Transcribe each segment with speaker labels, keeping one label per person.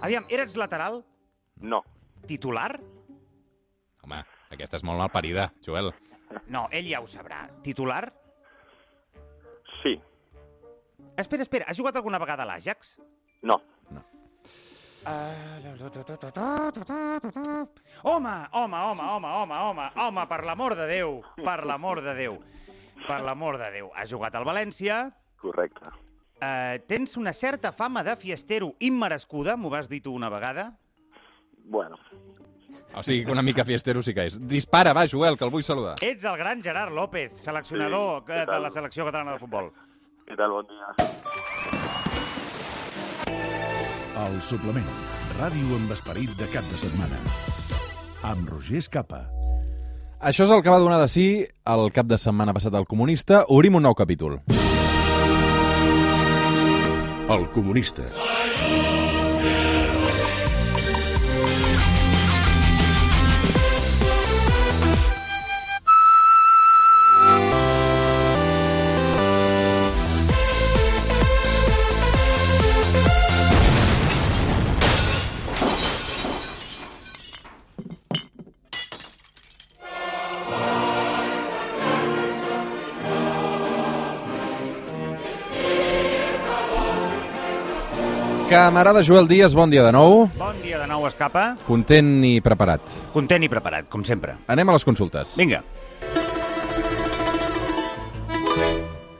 Speaker 1: Aviam, eres lateral?
Speaker 2: No.
Speaker 1: Titular?
Speaker 3: Home, aquesta és molt malparida, Joel.
Speaker 1: No, ell ja ho sabrà. Titular?
Speaker 2: Sí.
Speaker 1: Espera, espera, has jugat alguna vegada a l'Àgex?
Speaker 2: No.
Speaker 1: Ah, ta, ta, ta, ta, ta, ta, ta, ta, ta. Home, home, home, home, home, home, home, per l'amor de Déu, per l'amor de Déu, per l'amor de Déu. Has jugat al València,
Speaker 2: Correcte.
Speaker 1: eh, tens una certa fama de fiestero immerescuda, m'ho vas dir tu una vegada.
Speaker 2: Bueno,
Speaker 3: O sigui que una mica fiestero sí que és. Dispara, va, Joel, que el vull saludar.
Speaker 1: Ets el gran Gerard López, seleccionador
Speaker 2: Sí,
Speaker 1: eh,
Speaker 2: què
Speaker 1: de
Speaker 2: tal?
Speaker 1: la selecció catalana de futbol.
Speaker 2: què tal? Bon dia.
Speaker 4: El suplement. Ràdio amb esperit de cap de setmana. Amb Roger Escapa.
Speaker 3: Això és el que va donar de si el cap de setmana passat al Comunista. Obrim un nou capítol.
Speaker 4: El comunista.
Speaker 3: Camarada Joel Díaz, bon dia de nou.
Speaker 1: Bon dia de nou, Escapa.
Speaker 3: Content i preparat.
Speaker 1: Content i preparat, com sempre.
Speaker 3: Anem a les consultes.
Speaker 1: Vinga.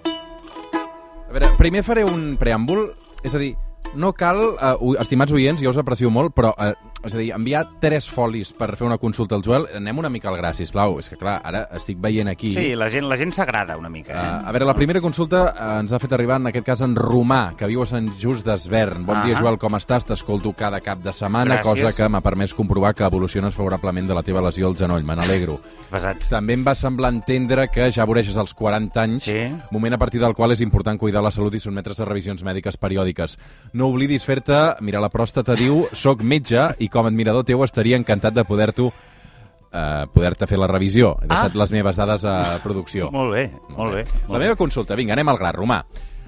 Speaker 3: A veure, primer faré un preàmbul, és a dir, no cal, eh, ui- estimats oients, jo us aprecio molt, però, eh, és a dir, enviar tres folis per fer una consulta al Joel, anem una mica al gra, sisplau. És que, clar, ara estic veient aquí...
Speaker 1: Sí, la gent la gent s'agrada una mica.
Speaker 3: Eh,
Speaker 1: Eh?
Speaker 3: a veure, la primera consulta eh, ens ha fet arribar, en aquest cas, en Romà, que viu a Sant Just d'Esvern. Bon dia,
Speaker 1: Ah.
Speaker 3: Joel, com estàs? T'escolto cada cap de setmana,
Speaker 1: Gràcies.
Speaker 3: cosa que m'ha permès comprovar que evoluciones favorablement de la teva lesió al genoll. Me n'alegro.
Speaker 1: Pesats.
Speaker 3: També em va semblar entendre que ja voreixes els 40 anys,
Speaker 1: Sí.
Speaker 3: moment a partir del qual és important cuidar la salut i sotmetre's a revisions mèdiques periòdiques. No oblidis fer-te, mira, la pròstata diu, soc metge i com a admirador teu estaria encantat de poder-t'ho eh, poder-te fer la revisió. He deixat
Speaker 1: Ah.
Speaker 3: les meves dades a producció.
Speaker 1: Molt bé, molt bé.
Speaker 3: Eh, La meva consulta, vinga, anem al gra, Romà.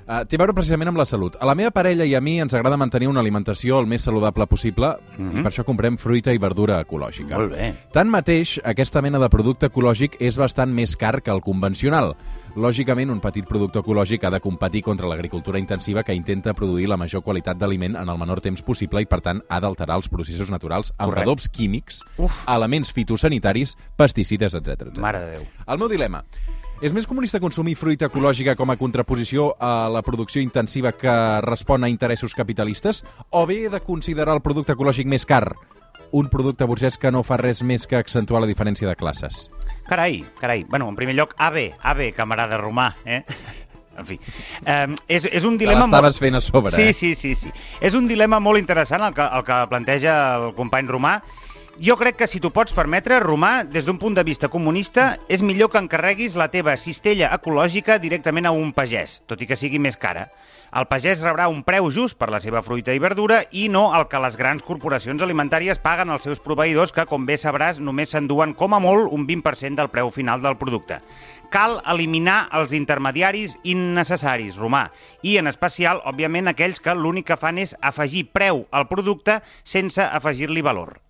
Speaker 3: Uh, té a veure precisament amb la salut. A la meva parella i a mi ens agrada mantenir una alimentació el més saludable possible i per això comprem fruita i verdura ecològica.
Speaker 1: Mhm. Molt bé.
Speaker 3: Tanmateix, aquesta mena de producte ecològic és bastant més car que el convencional. Lògicament, un petit producte ecològic ha de competir contra l'agricultura intensiva que intenta produir la major qualitat d'aliment en el menor temps possible i, per tant, ha d'alterar els processos naturals amb
Speaker 1: Correcte.
Speaker 3: adobs químics,
Speaker 1: Uf.
Speaker 3: elements fitosanitaris, pesticides, etc.
Speaker 1: Mare de Déu.
Speaker 3: El meu dilema. És més comunista consumir fruita ecològica com a contraposició a la producció intensiva que respon a interessos capitalistes? O bé he de considerar el producte ecològic més car? Un producte burgès que no fa res més que accentuar la diferència de classes.
Speaker 1: Carai, carai. Bueno, en primer lloc, AB, AB, camarada romà, eh? En fi, um, és, és un
Speaker 3: Te
Speaker 1: dilema...
Speaker 3: l'estaves fent a sobre,
Speaker 1: Sí,
Speaker 3: eh?
Speaker 1: sí, sí, sí. És un dilema molt interessant el que, el que planteja el company Romà. Jo crec que, si t'ho pots permetre, Romà, des d'un punt de vista comunista, és millor que encarreguis la teva cistella ecològica directament a un pagès, tot i que sigui més cara. El pagès rebrà un preu just per la seva fruita i verdura i no el que les grans corporacions alimentàries paguen als seus proveïdors que, com bé sabràs, només s'enduen com a molt un 20% del preu final del producte. Cal eliminar els intermediaris innecessaris, Romà, i en especial, òbviament, aquells que l'únic que fan és afegir preu al producte sense afegir-li valor.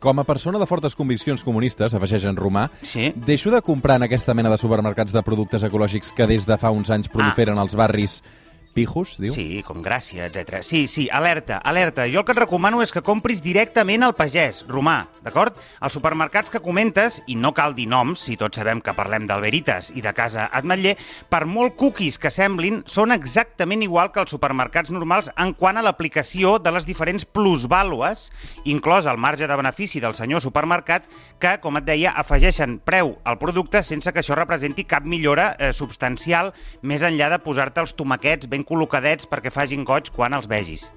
Speaker 3: Com a persona de fortes conviccions comunistes, afegeix en Romà,
Speaker 1: Sí.
Speaker 3: deixo de comprar en aquesta mena de supermercats de productes ecològics que des de fa uns anys proliferen als barris pijos, diu?
Speaker 1: Ah. Sí, com Gràcia, etc. Sí, sí, alerta, alerta. Jo el que et recomano és que compris directament al pagès, romà, d'acord? Als supermercats que comentes, i no cal dir noms, si tots sabem que parlem d'Alberites i de Casa Atmetller, per molt cookies que semblin, són exactament igual que els supermercats normals en quant a l'aplicació de les diferents plusvàlues, inclòs el marge de benefici del senyor supermercat, que, com et deia, afegeixen preu al producte sense que això representi cap millora eh, substancial més enllà de posar-te els tomaquets ben col·locadets perquè facin goig quan els vegis.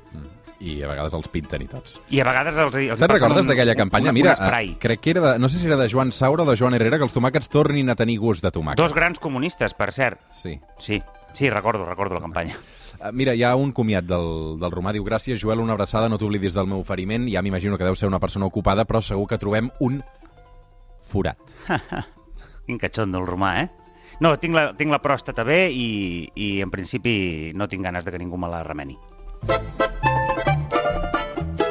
Speaker 3: I a vegades els pinten i tots.
Speaker 1: I a vegades els, els
Speaker 3: Te'n
Speaker 1: passen un-
Speaker 3: recordes d'aquella
Speaker 1: un-
Speaker 3: campanya?
Speaker 1: Un, un
Speaker 3: Mira,
Speaker 1: spray.
Speaker 3: eh, crec que era de, no sé si era de Joan Saura o de Joan Herrera, que els tomàquets tornin a tenir gust de tomàquet.
Speaker 1: Dos grans comunistes, per cert.
Speaker 3: Sí.
Speaker 1: Sí, sí, recordo, recordo la campanya.
Speaker 3: Eh, Mira, hi ha un comiat del, del Romà, diu gràcies, Joel, una abraçada, no t'oblidis del meu oferiment, ja m'imagino que deu ser una persona ocupada, però segur que trobem un forat.
Speaker 1: Quin catxondo el romà, eh? No, tinc la, tinc la pròstata bé i, i en principi no tinc ganes de que ningú me la remeni.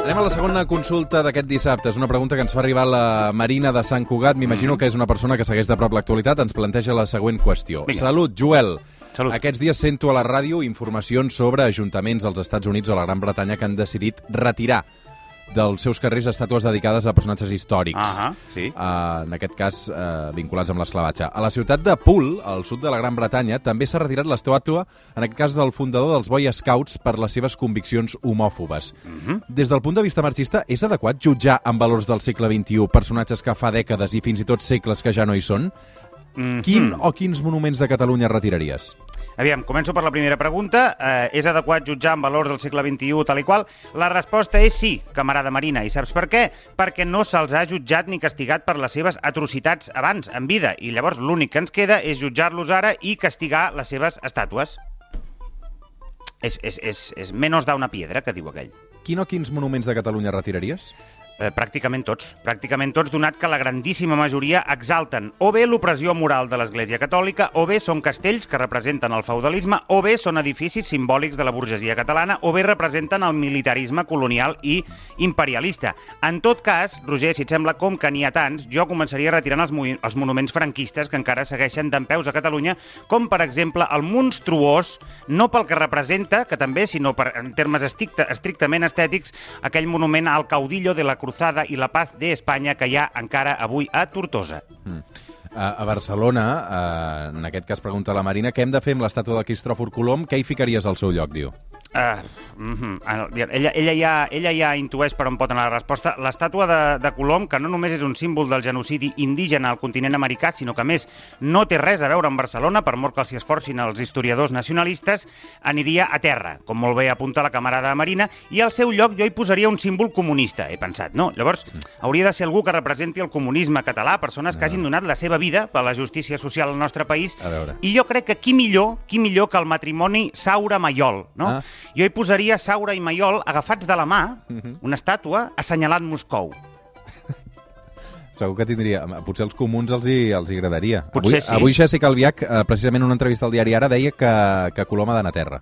Speaker 3: Anem a la segona consulta d'aquest dissabte. És una pregunta que ens fa arribar la Marina de Sant Cugat.
Speaker 1: Mhm.
Speaker 3: M'imagino que és una persona que segueix de prop l'actualitat. Ens planteja la següent qüestió.
Speaker 1: Vinga.
Speaker 3: Salut, Joel.
Speaker 1: Salut.
Speaker 3: Aquests dies sento a la ràdio informacions sobre ajuntaments als Estats Units o a la Gran Bretanya que han decidit retirar dels seus carrers estàtues dedicades a personatges històrics.
Speaker 1: Ahà, sí.
Speaker 3: eh, en aquest cas eh, vinculats amb l'esclavatge. A la ciutat de Poole, al sud de la Gran Bretanya, també s'ha retirat l'estàtua, en aquest cas del fundador dels Boy Scouts, per les seves conviccions homòfobes. Des del punt de vista marxista, és adequat jutjar amb valors del segle XXI personatges que fa dècades i fins i tot segles que ja no hi són? Quin o quins monuments de Catalunya retiraries?
Speaker 1: Aviam, començo per la primera pregunta. Eh, és adequat jutjar amb valors del segle XXI tal i qual? La resposta és sí, camarada Marina. I saps per què? Perquè no se'ls ha jutjat ni castigat per les seves atrocitats abans, en vida. I llavors l'únic que ens queda és jutjar-los ara i castigar les seves estàtues. És, és, és, és menos da una piedra, que diu aquell.
Speaker 3: Quin o quins monuments de Catalunya retiraries?
Speaker 1: Eh, pràcticament tots. Pràcticament tots, donat que la grandíssima majoria exalten o bé l'opressió moral de l'Església Catòlica, o bé són castells que representen el feudalisme, o bé són edificis simbòlics de la burgesia catalana, o bé representen el militarisme colonial i imperialista. En tot cas, Roger, si et sembla com que n'hi ha tants, jo començaria retirant els, movi- els monuments franquistes que encara segueixen d'empeus a Catalunya, com per exemple el monstruós, no pel que representa, que també, sinó per, en termes estricta, estrictament estètics, aquell monument al caudillo de la cruzada i la paz d'Espanya que hi ha encara avui a Tortosa.
Speaker 3: A, a Barcelona, eh, en aquest cas pregunta la Marina, què hem de fer amb l'estàtua de Cristòfor Colom? Què hi ficaries al seu lloc, diu?
Speaker 1: Uh, mm -hmm. ella, ella, ja, ella ja intueix per on pot anar la resposta. L'estàtua de, de Colom, que no només és un símbol del genocidi indígena al continent americà, sinó que, a més, no té res a veure amb Barcelona, per molt que s'hi esforcin els historiadors nacionalistes, aniria a terra, com molt bé apunta la camarada Marina, i al seu lloc jo hi posaria un símbol comunista, he pensat, no? Llavors, hauria de ser algú que representi el comunisme català, persones que hagin donat la seva vida per la justícia social al nostre país,
Speaker 3: A veure.
Speaker 1: i jo crec que qui millor, qui millor que el matrimoni Saura-Maiol, no?
Speaker 3: Ah.
Speaker 1: Ah. Jo hi posaria Saura i Maiol agafats de la mà,
Speaker 3: Mhm.
Speaker 1: una estàtua, assenyalant Moscou.
Speaker 3: Segur que tindria... Potser als comuns els hi, els hi agradaria.
Speaker 1: Potser
Speaker 3: avui,
Speaker 1: sí.
Speaker 3: Avui Jessica Albiach, eh, precisament en una entrevista al diari Ara, deia que, que Colom ha d'anar a terra.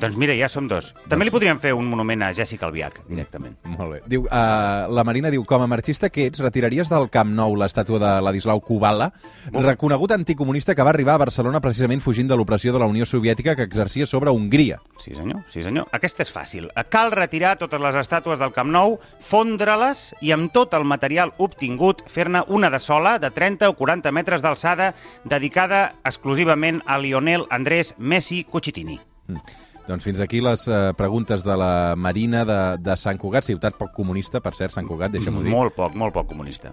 Speaker 1: Doncs mira, ja som dos. També li podríem fer un monument a Jessica Albiach, directament.
Speaker 3: Molt bé. Diu, eh, la Marina diu, com a marxista que ets, retiraries del Camp Nou l'estàtua de Ladislau Kubala, reconegut anticomunista que va arribar a Barcelona precisament fugint de l'opressió de la Unió Soviètica que exercia sobre Hongria.
Speaker 1: Sí, senyor, sí, senyor. Aquesta és fàcil. Cal retirar totes les estàtues del Camp Nou, fondre-les i amb tot el material obtingut fer-ne una de sola, de 30 o 40 metres d'alçada, dedicada exclusivament a Lionel Andrés Messi Cucitini.
Speaker 3: Doncs fins aquí les eh, preguntes de la Marina de, de Sant Cugat, ciutat poc comunista, per cert, Sant Cugat, deixa'm-ho dir.
Speaker 1: Molt poc, molt poc comunista.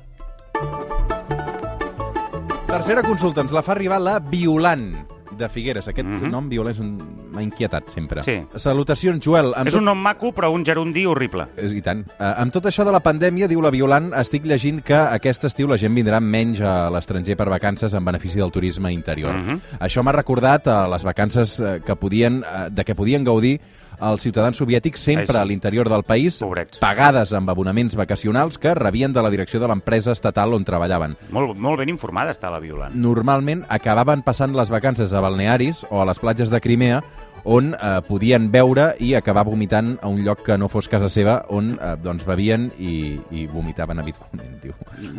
Speaker 3: Tercera consulta, ens la fa arribar la Violant de Figueres. Aquest mm -hmm.
Speaker 1: Mhm.
Speaker 3: nom, Violant, és un... m'ha inquietat sempre.
Speaker 1: Sí.
Speaker 3: Salutacions, Joel. Amb
Speaker 1: És un nom maco, però un gerundi horrible.
Speaker 3: És- I tant. Eh, amb tot això de la pandèmia, diu la Violant, estic llegint que aquest estiu la gent vindrà menys a l'estranger per vacances en benefici del turisme interior.
Speaker 1: Mhm.
Speaker 3: Això m'ha recordat a les vacances eh, que podien, eh, de què podien gaudir els ciutadans soviètics sempre
Speaker 1: Ai, sí.
Speaker 3: a l'interior del país,
Speaker 1: Pobrets.
Speaker 3: pagades amb abonaments vacacionals que rebien de la direcció de l'empresa estatal on treballaven.
Speaker 1: Molt, molt ben informada està la Violant.
Speaker 3: normalment acabaven passant les vacances a balnearis o a les platges de Crimea on eh, podien beure i acabar vomitant a un lloc que no fos casa seva on eh, doncs bevien i, i vomitaven habitualment, diu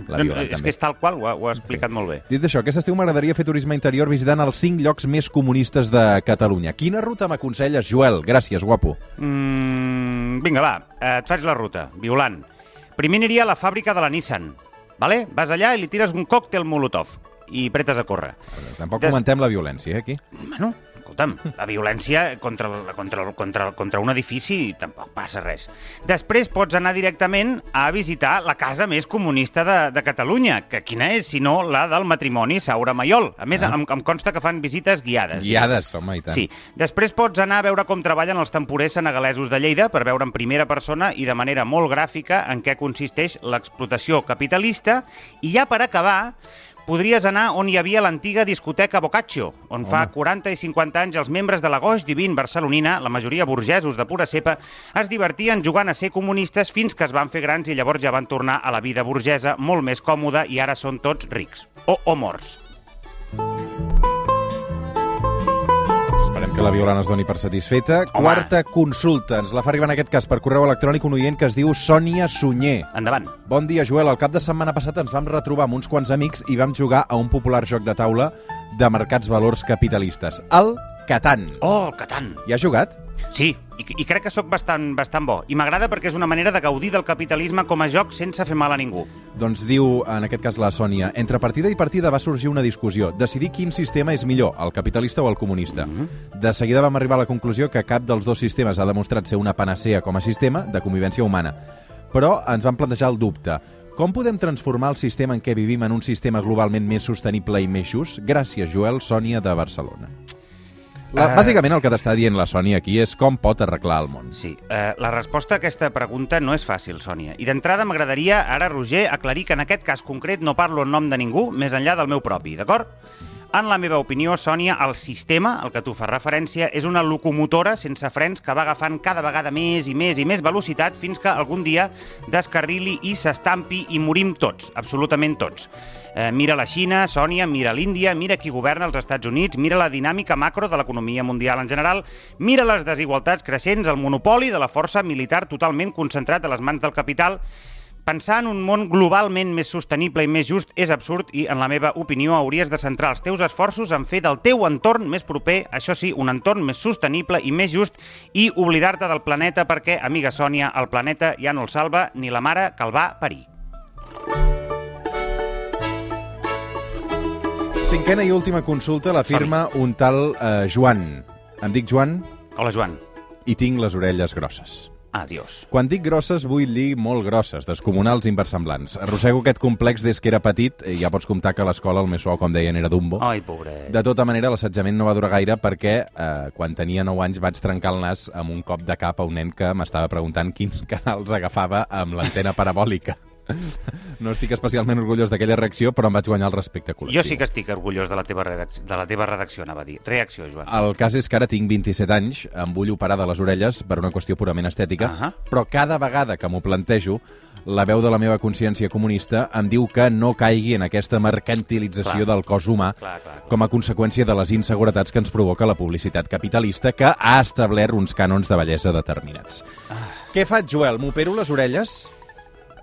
Speaker 3: la
Speaker 1: No, no,
Speaker 3: Violant
Speaker 1: és que
Speaker 3: també.
Speaker 1: és tal qual, ho ha, ho ha explicat molt bé.
Speaker 3: Dit això, aquest estiu m'agradaria fer turisme interior visitant els 5 llocs més comunistes de Catalunya. Quina ruta m'aconselles, Joel? Gràcies, guapo.
Speaker 1: Mm, vinga, va, eh, et faig la ruta, Violant. Primer aniria a la fàbrica de la Nissan, vale? vas allà i li tires un còctel molotov i pretes a córrer.
Speaker 3: Tampoc
Speaker 1: Des-
Speaker 3: comentem la violència, eh, aquí.
Speaker 1: Bueno, escolta'm, la violència contra, el- contra, el- contra, el- contra un edifici tampoc passa res. Després pots anar directament a visitar la casa més comunista de, de Catalunya, que quina és, si no, la del matrimoni Saura Maiol. A més,
Speaker 3: Ah.
Speaker 1: em, em consta que fan visites guiades.
Speaker 3: Guiades, home, i tant.
Speaker 1: Sí. Després pots anar a veure com treballen els temporers senegalesos de Lleida per veure en primera persona i de manera molt gràfica en què consisteix l'explotació capitalista. I ja per acabar, podries anar on hi havia l'antiga discoteca Boccaccio, on fa
Speaker 3: Home.
Speaker 1: 40 i 50 anys els membres de la Goix Divin barcelonina, la majoria burgesos de pura cepa, es divertien jugant a ser comunistes fins que es van fer grans i llavors ja van tornar a la vida burgesa molt més còmoda i ara són tots rics. O, o morts.
Speaker 3: Esperem que la Violant es doni per satisfeta. Home. Quarta consulta. Ens la fa arribar en aquest cas per correu electrònic un oient que es diu Sònia Sunyer.
Speaker 1: Endavant.
Speaker 3: Bon dia, Joel. El cap de setmana passat ens vam retrobar amb uns quants amics i vam jugar a un popular joc de taula de mercats valors capitalistes, el Catan.
Speaker 1: Oh, el Catan.
Speaker 3: Hi ha jugat?
Speaker 1: Sí, i, i crec que sóc bastant, bastant bo. I m'agrada perquè és una manera de gaudir del capitalisme com a joc sense fer mal a ningú.
Speaker 3: Doncs diu, en aquest cas la Sònia, entre partida i partida va sorgir una discussió. Decidir quin sistema és millor, el capitalista o el comunista. Mm -hmm. De seguida vam arribar a la conclusió que cap dels dos sistemes ha demostrat ser una panacea com a sistema de convivència humana. Però ens vam plantejar el dubte. Com podem transformar el sistema en què vivim en un sistema globalment més sostenible i més just? Gràcies, Joel, Sònia, de Barcelona. La,
Speaker 1: Eh,
Speaker 3: Bàsicament el que t'està dient la Sònia aquí és com pot arreglar el món.
Speaker 1: Sí, eh, la resposta a aquesta pregunta no és fàcil, Sònia. I d'entrada m'agradaria, ara, Roger, aclarir que en aquest cas concret no parlo en nom de ningú, més enllà del meu propi, d'acord? En la meva opinió, Sònia, el sistema, al que tu fas referència, és una locomotora sense frens que va agafant cada vegada més i més i més velocitat fins que algun dia descarrili i s'estampi i morim tots, absolutament tots. Eh, mira la Xina, Sònia, mira l'Índia, mira qui governa els Estats Units, mira la dinàmica macro de l'economia mundial en general, mira les desigualtats creixents, el monopoli de la força militar totalment concentrat a les mans del capital, Pensar en un món globalment més sostenible i més just és absurd i, en la meva opinió, hauries de centrar els teus esforços en fer del teu entorn més proper, això sí, un entorn més sostenible i més just i oblidar-te del planeta perquè, amiga Sònia, el planeta ja no el salva ni la mare que el va parir.
Speaker 3: Cinquena i última consulta la firma un tal eh, Joan. Em dic Joan
Speaker 1: Hola, Joan.
Speaker 3: i tinc les orelles grosses.
Speaker 1: Adiós.
Speaker 3: Quan dic grosses, vull dir molt grosses, descomunals i inversemblants. Arrossego aquest complex des que era petit, i ja pots comptar que a l'escola el més suau, com deien, era Dumbo.
Speaker 1: Ai, pobret.
Speaker 3: De tota manera, l'assetjament no va durar gaire perquè eh, quan tenia 9 anys vaig trencar el nas amb un cop de cap a un nen que m'estava preguntant quins canals agafava amb l'antena parabòlica. No estic especialment orgullós d'aquella reacció, però em vaig guanyar el respecte col·lectiu.
Speaker 1: Jo sí que estic orgullós de la teva redacció, de la teva redacció anava a dir. Reacció, Joan.
Speaker 3: El cas és que ara tinc 27 anys, em vull operar de les orelles per una qüestió purament estètica, uh
Speaker 1: Ahà.
Speaker 3: -huh. però cada vegada que m'ho plantejo, la veu de la meva consciència comunista em diu que no caigui en aquesta mercantilització
Speaker 1: Clar.
Speaker 3: del cos humà
Speaker 1: Clar, clar, clar.
Speaker 3: com a conseqüència de les inseguretats que ens provoca la publicitat capitalista que ha establert uns cànons de bellesa determinats.
Speaker 1: Ah.
Speaker 3: Què faig, Joel? M'opero les orelles?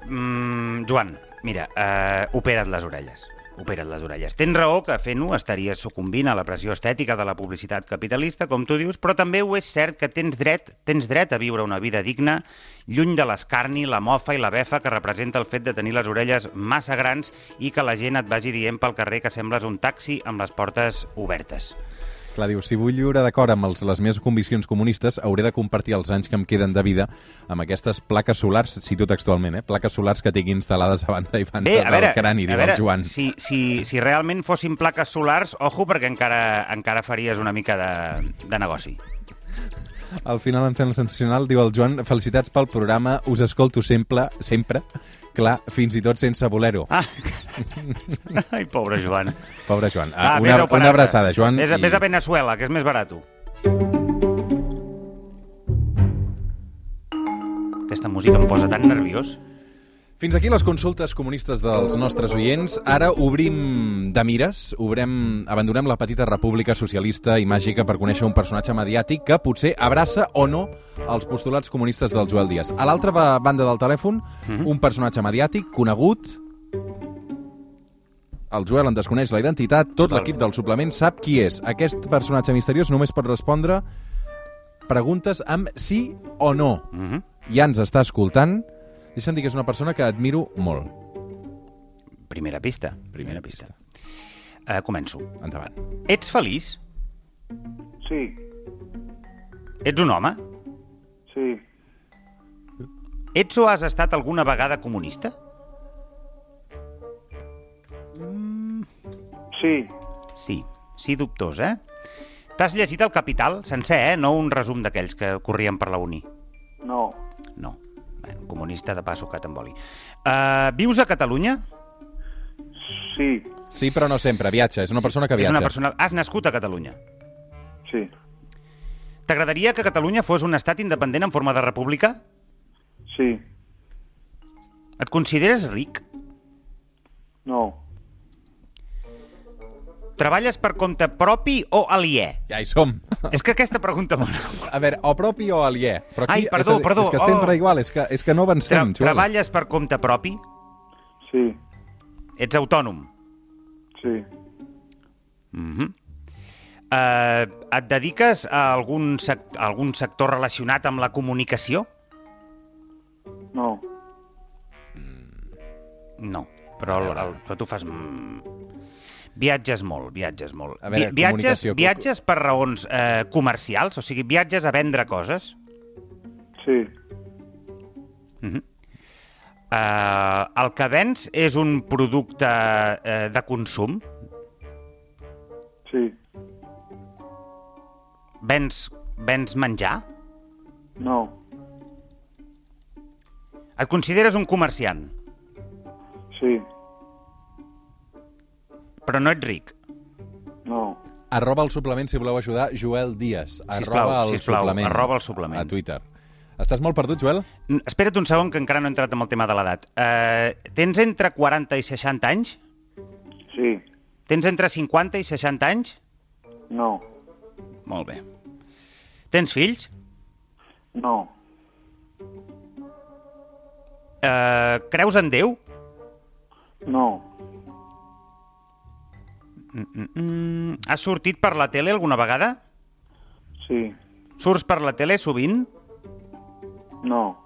Speaker 1: Mm, Joan, mira, eh, opera't les orelles. Opera't les orelles. Tens raó que fent-ho estaries sucumbint a la pressió estètica de la publicitat capitalista, com tu dius, però també ho és cert que tens dret tens dret a viure una vida digna, lluny de l'escarni, la mofa i la befa que representa el fet de tenir les orelles massa grans i que la gent et vagi dient pel carrer que sembles un taxi amb les portes obertes.
Speaker 3: Clar, diu, si vull viure d'acord amb els, les meves conviccions comunistes, hauré de compartir els anys que em queden de vida amb aquestes plaques solars, cito textualment, eh? plaques solars que tinc instal·lades a banda i banda
Speaker 1: Bé, Eh, a veure,
Speaker 3: del crani,
Speaker 1: a
Speaker 3: diu
Speaker 1: veure
Speaker 3: el Joan.
Speaker 1: Si, si, si realment fossin plaques solars, ojo, perquè encara, encara faries una mica de, de negoci.
Speaker 3: Al final, en fent el sensacional, diu el Joan, felicitats pel programa, us escolto sempre, sempre, clar, fins i tot sense voler-ho.
Speaker 1: Ah. Ai, pobre Joan.
Speaker 3: Pobre Joan.
Speaker 1: Va,
Speaker 3: Ah,
Speaker 1: vés a
Speaker 3: una,
Speaker 1: operar-te.
Speaker 3: una abraçada, Joan.
Speaker 1: Vés a, vés a Venezuela, que és més barat. Aquesta música em posa tan nerviós.
Speaker 3: Fins aquí les consultes comunistes dels nostres oients. Ara obrim de mires, obrem, abandonem la petita república socialista i màgica per conèixer un personatge mediàtic que potser abraça o no els postulats comunistes del Joel Díaz. A l'altra ba- banda del telèfon, un personatge mediàtic conegut, el Joel en desconeix la identitat, tot
Speaker 1: Totalment.
Speaker 3: l'equip del suplement sap qui és. Aquest personatge misteriós només pot respondre preguntes amb sí o no
Speaker 1: Mm -hmm.
Speaker 3: ja ens està escoltant. Deixa'm dir que és una persona que admiro molt.
Speaker 1: Primera pista.
Speaker 3: Primera pista.
Speaker 1: Uh, començo.
Speaker 3: Endavant.
Speaker 1: Ets feliç?
Speaker 2: Sí,
Speaker 1: Ets un home?
Speaker 2: sí,
Speaker 1: Ets o has estat alguna vegada comunista?
Speaker 2: sí,
Speaker 1: Sí, sí dubtós, eh? T'has llegit El Capital, sencer, eh? No un resum d'aquells que corrien per la uni.
Speaker 2: no,
Speaker 1: No. Bueno, comunista de pa sucat amb oli. Uh, vius a Catalunya?
Speaker 2: sí,
Speaker 3: Sí, però no sempre. Viatja. És una persona que
Speaker 1: És
Speaker 3: viatja.
Speaker 1: una persona... Has nascut a Catalunya.
Speaker 2: sí,
Speaker 1: T'agradaria que Catalunya fos un estat independent en forma de república?
Speaker 2: sí,
Speaker 1: Et consideres ric?
Speaker 2: no,
Speaker 1: Treballes per compte propi o aliè?
Speaker 3: Ja hi som.
Speaker 1: És que aquesta pregunta mola.
Speaker 3: A veure, o propi o aliè. Però aquí,
Speaker 1: Ai, perdó,
Speaker 3: és a dir,
Speaker 1: perdó,
Speaker 3: És que
Speaker 1: oh.
Speaker 3: sempre igual, és que, és que no
Speaker 1: Tra
Speaker 3: avancem, Joel.
Speaker 1: treballes per compte propi?
Speaker 2: sí,
Speaker 1: Ets autònom?
Speaker 2: sí,
Speaker 1: Mhm. eh, et dediques a algun, sec a algun sector relacionat amb la comunicació?
Speaker 2: no,
Speaker 1: No, però, el, el, però tu fas... mm, Viatges molt, viatges molt.
Speaker 3: A veure,
Speaker 1: Vi- viatges,
Speaker 3: comunicació, co-
Speaker 1: viatges per raons eh, comercials, o sigui, viatges a vendre coses.
Speaker 2: sí,
Speaker 1: Eh, el que vens és un producte eh, de consum.
Speaker 2: sí,
Speaker 1: Vens, vens menjar.
Speaker 2: no,
Speaker 1: Et consideres un comerciant,
Speaker 2: sí,
Speaker 1: però no ets ric.
Speaker 2: no,
Speaker 3: Arroba el suplement, si voleu ajudar, Joel Díaz. Arroba
Speaker 1: Sisplau,
Speaker 3: el
Speaker 1: sisplau,
Speaker 3: suplement.
Speaker 1: arroba el suplement.
Speaker 3: A Twitter. Estàs molt perdut, Joel?
Speaker 1: N- Espera't un segon, que encara no he entrat amb el tema de l'edat. Eh, tens entre 40 i 60 anys?
Speaker 2: sí,
Speaker 1: Tens entre 50 i 60 anys?
Speaker 2: no,
Speaker 1: Molt bé. Tens fills?
Speaker 2: no,
Speaker 1: Eh, creus en Déu?
Speaker 2: no,
Speaker 1: Mm, has sortit per la tele alguna vegada?
Speaker 2: sí,
Speaker 1: Surts per la tele sovint?
Speaker 2: no,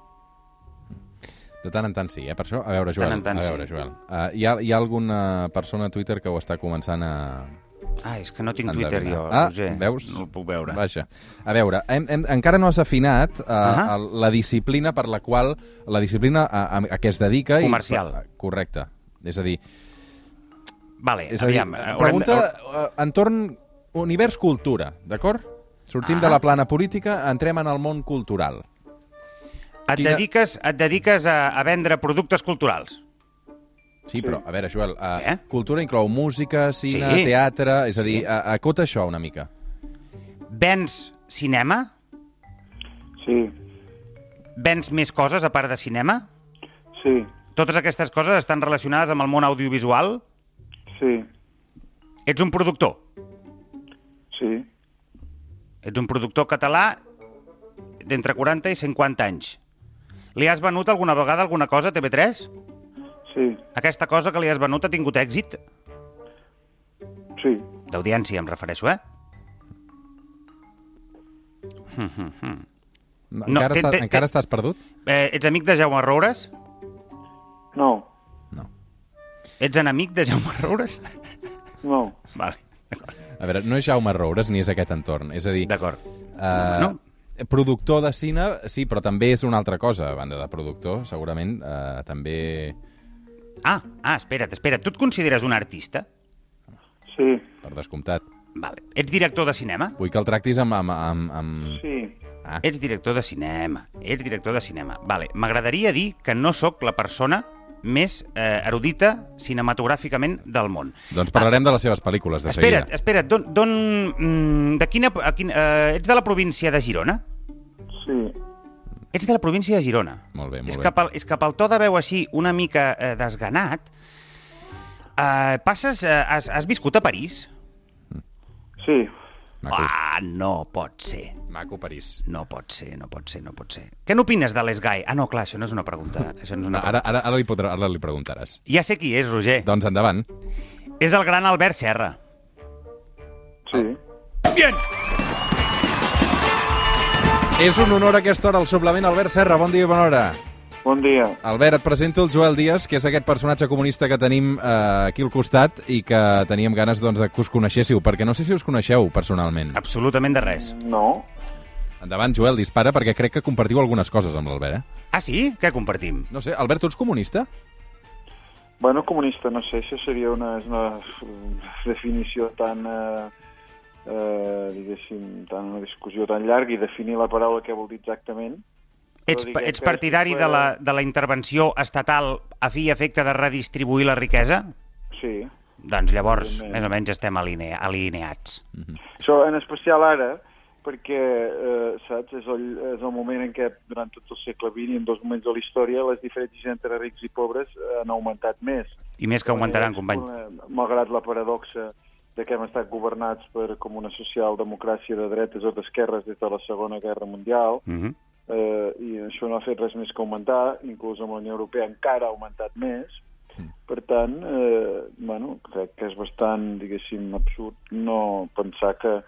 Speaker 3: De tant en tant sí, eh, per això. A veure, Joel,
Speaker 1: en tant
Speaker 3: a veure,
Speaker 1: sí.
Speaker 3: Joel. Uh, hi, ha, hi ha alguna persona a Twitter que ho està començant a...
Speaker 1: Ah, és que no tinc
Speaker 3: endevinar.
Speaker 1: Twitter jo,
Speaker 3: ah,
Speaker 1: Roger.
Speaker 3: veus?
Speaker 1: No el puc veure.
Speaker 3: Vaja. A veure, hem, hem, encara no has afinat uh, uh
Speaker 1: Ahà.
Speaker 3: -huh. la disciplina per la qual... La disciplina a, a, a què es dedica... i- Ah,
Speaker 1: Comercial.
Speaker 3: correcte. És a dir,
Speaker 1: Vale,
Speaker 3: És a dir,
Speaker 1: aviam. haurem de-
Speaker 3: pregunta eh, entorn univers cultura, d'acord? Sortim
Speaker 1: Ah.
Speaker 3: de la plana política, entrem en el món cultural.
Speaker 1: Et
Speaker 3: quina-
Speaker 1: dediques, et dediques a, a vendre productes culturals?
Speaker 3: Sí, però, a veure, Joel, eh,
Speaker 1: Eh?
Speaker 3: cultura inclou música, cine,
Speaker 1: Sí.
Speaker 3: teatre... És a dir,
Speaker 1: Sí.
Speaker 3: a- acota això una mica.
Speaker 1: Vens cinema?
Speaker 2: sí,
Speaker 1: Vens més coses a part de cinema?
Speaker 2: sí,
Speaker 1: Totes aquestes coses estan relacionades amb el món audiovisual?
Speaker 2: sí,
Speaker 1: Ets un productor.
Speaker 2: sí,
Speaker 1: Ets un productor català d'entre 40 i 50 anys. Li has venut alguna vegada alguna cosa a TV3?
Speaker 2: sí,
Speaker 1: Aquesta cosa que li has venut ha tingut èxit?
Speaker 2: sí,
Speaker 1: D'audiència, em refereixo, eh?
Speaker 3: Encara,
Speaker 1: té-
Speaker 3: estàs,
Speaker 1: té- té-
Speaker 3: encara estàs perdut?
Speaker 1: eh ets amic de Jaume Roures?
Speaker 2: no,
Speaker 3: No.
Speaker 1: Ets enemic de Jaume Roures?
Speaker 2: no,
Speaker 1: vale,
Speaker 3: A veure, no és Jaume Roures ni és aquest entorn. És a dir,
Speaker 1: d'acord.
Speaker 3: eh,
Speaker 1: No.
Speaker 3: productor de cine, sí, però també és una altra cosa, a banda de productor, segurament. Eh, també...
Speaker 1: Ah, ah, espera't, espera't. Tu et consideres un artista?
Speaker 2: sí,
Speaker 3: Per descomptat.
Speaker 1: Vale. Ets director de cinema?
Speaker 3: Vull que el tractis amb... amb, amb, amb...
Speaker 2: sí,
Speaker 3: Ah,
Speaker 1: Ets director de cinema. Ets director de cinema. Vale. M'agradaria dir que no sóc la persona més eh, erudita cinematogràficament del món.
Speaker 3: doncs parlarem de les seves pel·lícules de
Speaker 1: espera't,
Speaker 3: seguida.
Speaker 1: espera't. Don, don, mm, de quina, a quin, eh, ets de la província de Girona?
Speaker 2: sí,
Speaker 1: Ets de la província de Girona.
Speaker 3: Molt bé, molt
Speaker 1: és,
Speaker 3: bé.
Speaker 1: que pel, és que pel to de veu així una mica eh, desganat, eh, passes, eh, has, has viscut a París?
Speaker 2: sí,
Speaker 3: Maco,
Speaker 1: Ah, no pot ser.
Speaker 3: maco París.
Speaker 1: No pot ser, no pot ser, no pot ser. Què n'opines de Les Gai? Ah, no, clar, això no és una pregunta. Això no és una
Speaker 3: Ara, ara, ara, li, podrà, ara li preguntaràs.
Speaker 1: Ja sé qui és, Roger.
Speaker 3: Doncs endavant.
Speaker 1: És el gran Albert Serra.
Speaker 2: sí,
Speaker 1: Bien!
Speaker 3: És un honor a aquesta hora al suplement. Albert Serra, bon dia i bona hora.
Speaker 2: bon dia,
Speaker 3: Albert, et presento el Joel Díaz, que és aquest personatge comunista que tenim eh, aquí al costat i que teníem ganes doncs, de que us coneixéssiu, perquè no sé si us coneixeu personalment.
Speaker 1: Absolutament de res.
Speaker 2: no,
Speaker 3: Endavant, Joel, dispara, perquè crec que compartiu algunes coses amb l'Albert, eh?
Speaker 1: Ah, sí? Què compartim?
Speaker 3: No sé, Albert, tu ets comunista?
Speaker 2: Bueno, comunista, no sé, això seria una, és una definició tan, eh, eh, diguéssim, tan una discussió tan llarga i definir la paraula que vol dir exactament.
Speaker 1: Ets,
Speaker 2: diguem
Speaker 1: ets
Speaker 2: que
Speaker 1: partidari
Speaker 2: si
Speaker 1: de
Speaker 2: fuera-
Speaker 1: la, de la intervenció estatal a fi i efecte de redistribuir la riquesa?
Speaker 2: Sí.
Speaker 1: Doncs llavors,
Speaker 2: Evidentment.
Speaker 1: més o menys, estem aline alineats.
Speaker 2: Això en especial ara, perquè, eh, saps, és el, és el moment en què durant tot el segle XX i en dos moments de la història les diferències entre rics i pobres han augmentat més. Eh,
Speaker 1: I més que augmentaran, company.
Speaker 2: Malgrat la paradoxa de que hem estat governats per com una socialdemocràcia de dretes o d'esquerres des de la Segona Guerra Mundial,
Speaker 1: Mm -hmm.
Speaker 2: eh, i això no ha fet res més que augmentar, inclús amb la Unió Europea encara ha augmentat més, per tant, eh, bueno, crec que és bastant, diguéssim, absurd no pensar que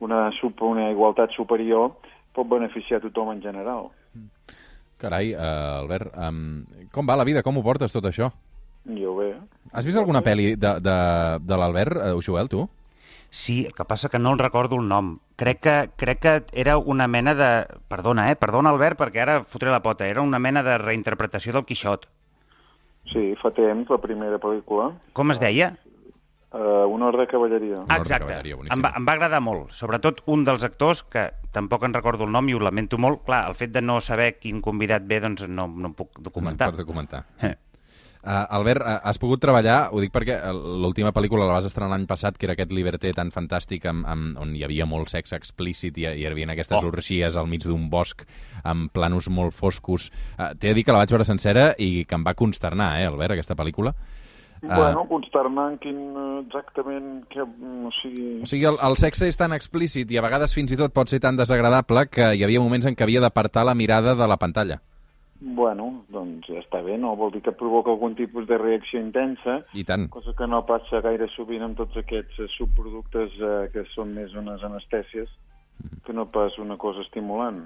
Speaker 2: una, sup- una igualtat superior pot beneficiar a tothom en general.
Speaker 3: Carai, eh, Albert, um, com va la vida? Com ho portes, tot això?
Speaker 2: Jo bé.
Speaker 3: Has vist alguna pel·li de, de, de l'Albert, eh, Joel, tu?
Speaker 1: Sí, el que passa que no en recordo el nom. Crec que, crec que era una mena de... Perdona, eh? Perdona, Albert, perquè ara fotré la pota. Era una mena de reinterpretació del Quixot.
Speaker 2: Sí, fa temps, la primera pel·lícula,
Speaker 1: Com es deia?
Speaker 2: eh, Una hora de cavalleria.
Speaker 3: Ah,
Speaker 1: Ah,
Speaker 3: Honor de
Speaker 1: Exacte.
Speaker 3: cavalleria, boníssim.
Speaker 1: Em va, em va agradar molt. Sobretot un dels actors, que tampoc en recordo el nom i ho lamento molt. Clar, el fet de no saber quin convidat ve, doncs no, no em puc documentar.
Speaker 3: No, pots documentar.
Speaker 1: Eh.
Speaker 3: Uh, Albert, uh, has pogut treballar, ho dic perquè eh, l'última pel·lícula la vas estrenar l'any passat, que era aquest Liberté tan fantàstic, amb, amb, on hi havia molt sexe explícit i hi, hi havia aquestes oh.
Speaker 1: Oh.
Speaker 3: orgies al mig d'un bosc amb planos molt foscos. Uh, T'he de dir que la vaig veure sencera i que em va consternar, eh, Albert, aquesta pel·lícula.
Speaker 2: Ah. Bueno, consternar en quin eh, exactament... Que, mm, o sigui...
Speaker 3: O sigui, el, el sexe és tan explícit i a vegades fins i tot pot ser tan desagradable que hi havia moments en què havia d'apartar la mirada de la pantalla.
Speaker 2: Bueno, doncs ja està bé, no? Vol dir que provoca algun tipus de reacció intensa,
Speaker 3: I tant.
Speaker 2: cosa que no passa gaire sovint amb tots aquests eh, subproductes eh, que són més unes anestèsies que no pas una cosa estimulant.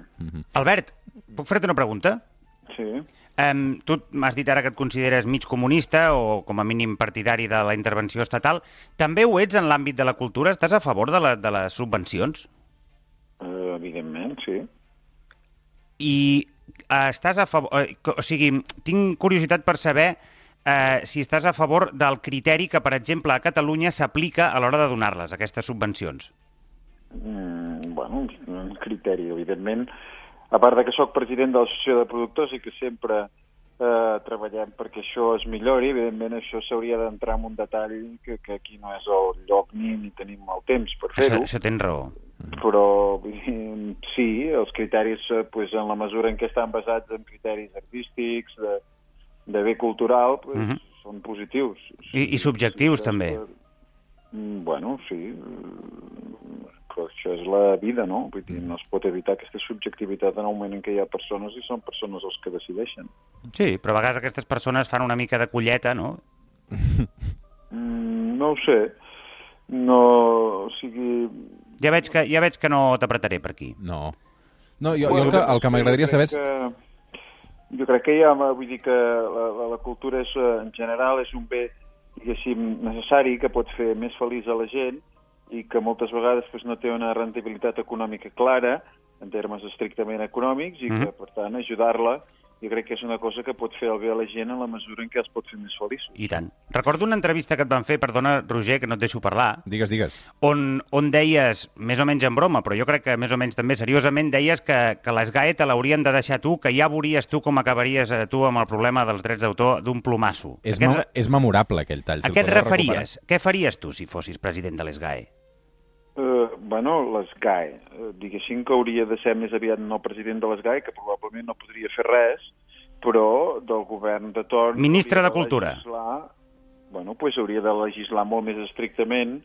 Speaker 1: Albert, puc fer-te una pregunta?
Speaker 2: Sí.
Speaker 1: Um, tu m'has dit ara que et consideres mig comunista o com a mínim partidari de la intervenció estatal. També ho ets en l'àmbit de la cultura? Estàs a favor de, la, de les subvencions?
Speaker 2: Eh, evidentment, sí.
Speaker 1: I eh, estàs a favor... eh, co- O sigui, tinc curiositat per saber eh, si estàs a favor del criteri que, per exemple, a Catalunya s'aplica a l'hora de donar-les, aquestes subvencions.
Speaker 2: Mm, bueno, un criteri, evidentment. A part de que sóc president de l'Associació de Productors i que sempre eh, treballem perquè això es millori, evidentment això s'hauria d'entrar en un detall que, que aquí no és el lloc ni, ni tenim el temps per
Speaker 1: Això,
Speaker 2: fer-ho,
Speaker 1: això tens raó.
Speaker 2: però vull dir, sí, els criteris, eh, pues, en la mesura en què estan basats en criteris artístics, de, de bé cultural, pues,
Speaker 1: Mhm.
Speaker 2: són positius.
Speaker 1: I- i subjectius,
Speaker 2: és
Speaker 1: també.
Speaker 2: per- Mm, Bueno, sí, mm, però això és la vida, no? Vull dir, no es pot evitar aquesta subjectivitat en el moment en què hi ha persones i són persones els que decideixen.
Speaker 1: Sí, però a vegades aquestes persones fan una mica de colleta, no?
Speaker 2: Mm, no ho sé, no, o sigui...
Speaker 1: Ja veig que, ja veig que no t'apretaré per aquí.
Speaker 3: No. No, jo, jo el que, el que m'agradaria
Speaker 2: jo crec
Speaker 3: saber és...
Speaker 2: Que, jo crec que hi ha, vull dir que la, la, la cultura és, eh, en general és un bé, diguéssim, necessari, que pot fer més feliç a la gent i que moltes vegades pues, no té una rentabilitat econòmica clara en termes estrictament econòmics i que,
Speaker 1: Mhm.
Speaker 2: per tant, ajudar-la jo crec que és una cosa que pot fer el bé a la gent en la mesura en què els pot fer més feliços.
Speaker 1: I tant. Recordo una entrevista que et van fer, perdona, Roger, que no et deixo parlar,
Speaker 3: Digues, digues.
Speaker 1: on, on deies, més o menys en broma, però jo crec que més o menys també seriosament, deies que, que l'esgae te l'haurien de deixar tu, que ja veuries tu com acabaries eh, tu amb el problema dels drets d'autor d'un plomasso.
Speaker 3: És,
Speaker 1: a
Speaker 3: me
Speaker 1: re-
Speaker 3: és memorable aquell tall.
Speaker 1: a
Speaker 3: si el
Speaker 1: què et
Speaker 3: podeu recuperar.
Speaker 1: referies? Què faries tu si fossis president de l'esgae?
Speaker 2: Eh, bueno, l'ESGAE. Eh, diguéssim que hauria de ser més aviat no president de l'ESGAE, E, que probablement no podria fer res, però del govern de torn...
Speaker 1: Ministre
Speaker 2: hauria
Speaker 1: de Cultura.
Speaker 2: Legislar, bueno, pues hauria de legislar molt més estrictament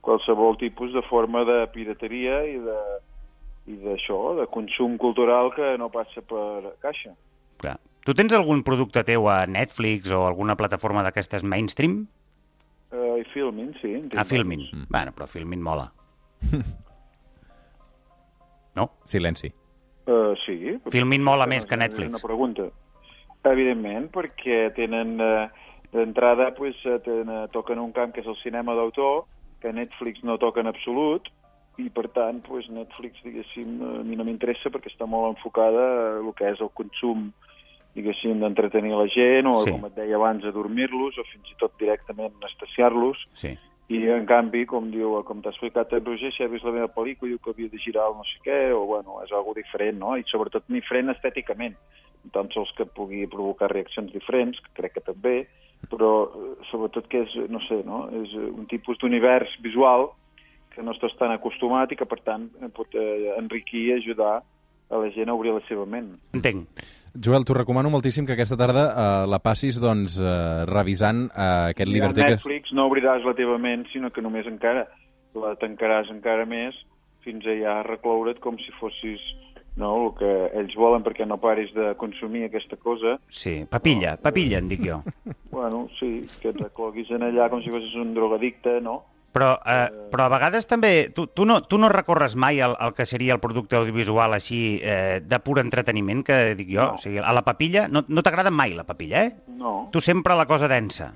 Speaker 2: qualsevol tipus de forma de pirateria i de i d'això, de consum cultural que no passa per caixa.
Speaker 1: Clar. Tu tens algun producte teu a Netflix o alguna plataforma d'aquestes mainstream?
Speaker 2: Uh, I Filmin, sí. en tinc
Speaker 1: A Ah, Filmin.
Speaker 3: Mm.
Speaker 1: Bueno, però Filmin mola. No?
Speaker 3: Silenci.
Speaker 2: Uh, sí.
Speaker 1: Filmin mola
Speaker 2: No,
Speaker 1: més que
Speaker 2: és Una
Speaker 1: Netflix.
Speaker 2: pregunta. Evidentment, perquè tenen... Eh, D'entrada, pues, eh, ten, eh, toquen un camp que és el cinema d'autor, que Netflix no toca en absolut, i per tant, pues, Netflix, diguéssim, eh, a mi no m'interessa perquè està molt enfocada a el que és el consum, diguéssim, d'entretenir la gent, o
Speaker 1: Sí.
Speaker 2: sí. com et deia abans, adormir-los, o fins i tot directament anestesiar-los.
Speaker 1: Sí.
Speaker 2: I, en canvi, com diu, com t'ha explicat en Roger, si ha vist la meva pel·lícula, diu que havia de girar el no sé què, o, bueno, és algo diferent, no? I, sobretot, diferent estèticament. Tan sols que pugui provocar reaccions diferents, que crec que també, però, eh, sobretot, que és, eh, no sé, no? És eh, un tipus d'univers visual que no estàs tan acostumat i que, per tant, eh, pot eh, enriquir i ajudar a la gent a obrir la seva ment.
Speaker 1: Entenc.
Speaker 3: Joel, t'ho recomano moltíssim que aquesta tarda eh, la passis doncs, eh, revisant eh, aquest Liberty.
Speaker 2: a
Speaker 3: Que... és-
Speaker 2: Netflix no obriràs la teva ment, sinó que només encara la tancaràs encara més fins a ja recloure't com si fossis no, el que ells volen perquè no paris de consumir aquesta cosa.
Speaker 1: Sí, papilla, papilla en dic jo.
Speaker 2: Bueno, sí, que et recloguis en allà com si fossis un drogadicte, no?
Speaker 1: Però, eh, però a vegades també... Tu, tu, no, tu no recorres mai al, al que seria el producte audiovisual així eh, de pur entreteniment, que dic jo.
Speaker 2: No.
Speaker 1: O sigui, a la papilla... No, no t'agrada mai la papilla, eh?
Speaker 2: No.
Speaker 1: Tu sempre la cosa densa.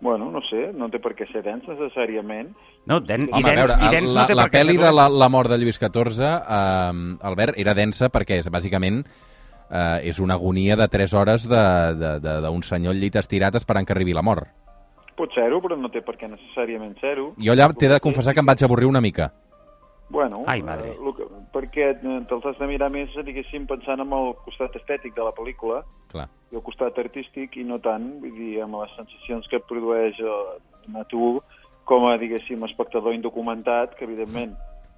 Speaker 2: Bueno, no sé, no té per què ser dens necessàriament.
Speaker 1: No, den,
Speaker 3: Home,
Speaker 1: i dens,
Speaker 3: a veure,
Speaker 1: i dens
Speaker 3: la,
Speaker 1: no té
Speaker 3: la
Speaker 1: per què ser
Speaker 3: pel·li de
Speaker 1: dolenta.
Speaker 3: la, la mort de Lluís XIV, eh, Albert, era densa perquè, és, bàsicament, eh, és una agonia de 3 hores de- de- de- d'un senyor al llit estirat esperant que arribi la mort.
Speaker 2: Pot ser-ho, però no té per què necessàriament ser-ho.
Speaker 3: Jo allà t'he de confessar que em vaig avorrir una mica.
Speaker 2: Bueno,
Speaker 1: Ai, madre.
Speaker 2: eh, lo que, perquè eh, te'ls has de mirar més, diguéssim, pensant en el costat estètic de la pel·lícula
Speaker 3: Clar.
Speaker 2: i el costat artístic i no tant, vull dir, amb les sensacions que et produeix eh, a tu com a, diguéssim, espectador indocumentat, que evidentment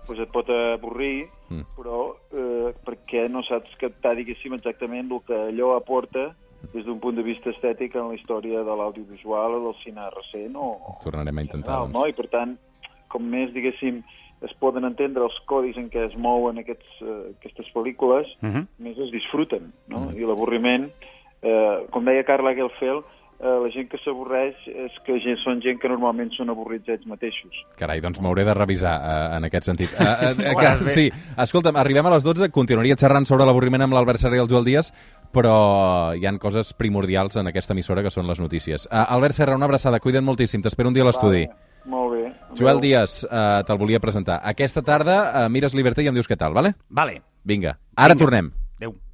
Speaker 2: doncs et pot avorrir,
Speaker 3: Mm.
Speaker 2: però eh, perquè no saps captar, diguéssim, exactament el que allò aporta des d'un punt de vista estètic en la història de l'audiovisual o del cine recent o, o
Speaker 3: Tornarem a intentar,
Speaker 2: general,
Speaker 3: doncs.
Speaker 2: no? I per tant, com més, diguéssim, es poden entendre els codis en què es mouen aquests, eh, aquestes pel·lícules,
Speaker 1: Mhm.
Speaker 2: més es disfruten, no? I l'avorriment, eh, com deia Carla Gelfeld, eh, la gent que s'avorreix és que gent, són gent que normalment són avorrits ells mateixos.
Speaker 3: Carai, doncs m'hauré de revisar eh, en aquest sentit. Eh, eh, eh, que,
Speaker 1: Guarda, bé.
Speaker 3: sí, escolta'm, arribem a les 12, continuaria xerrant sobre l'avorriment amb l'Albert Serra i el Joel Díaz, però hi han coses primordials en aquesta emissora que són les notícies. Eh, Albert Serra, una abraçada, cuida't moltíssim, t'espero un dia a l'estudi.
Speaker 2: Vale, Molt bé.
Speaker 3: Joel
Speaker 2: Adéu.
Speaker 3: Díaz, eh, te'l volia presentar. Aquesta tarda eh, mires Liberty i em dius què tal, vale?
Speaker 1: Vale,
Speaker 3: Vinga, ara
Speaker 1: Vinga.
Speaker 3: tornem.
Speaker 1: adéu.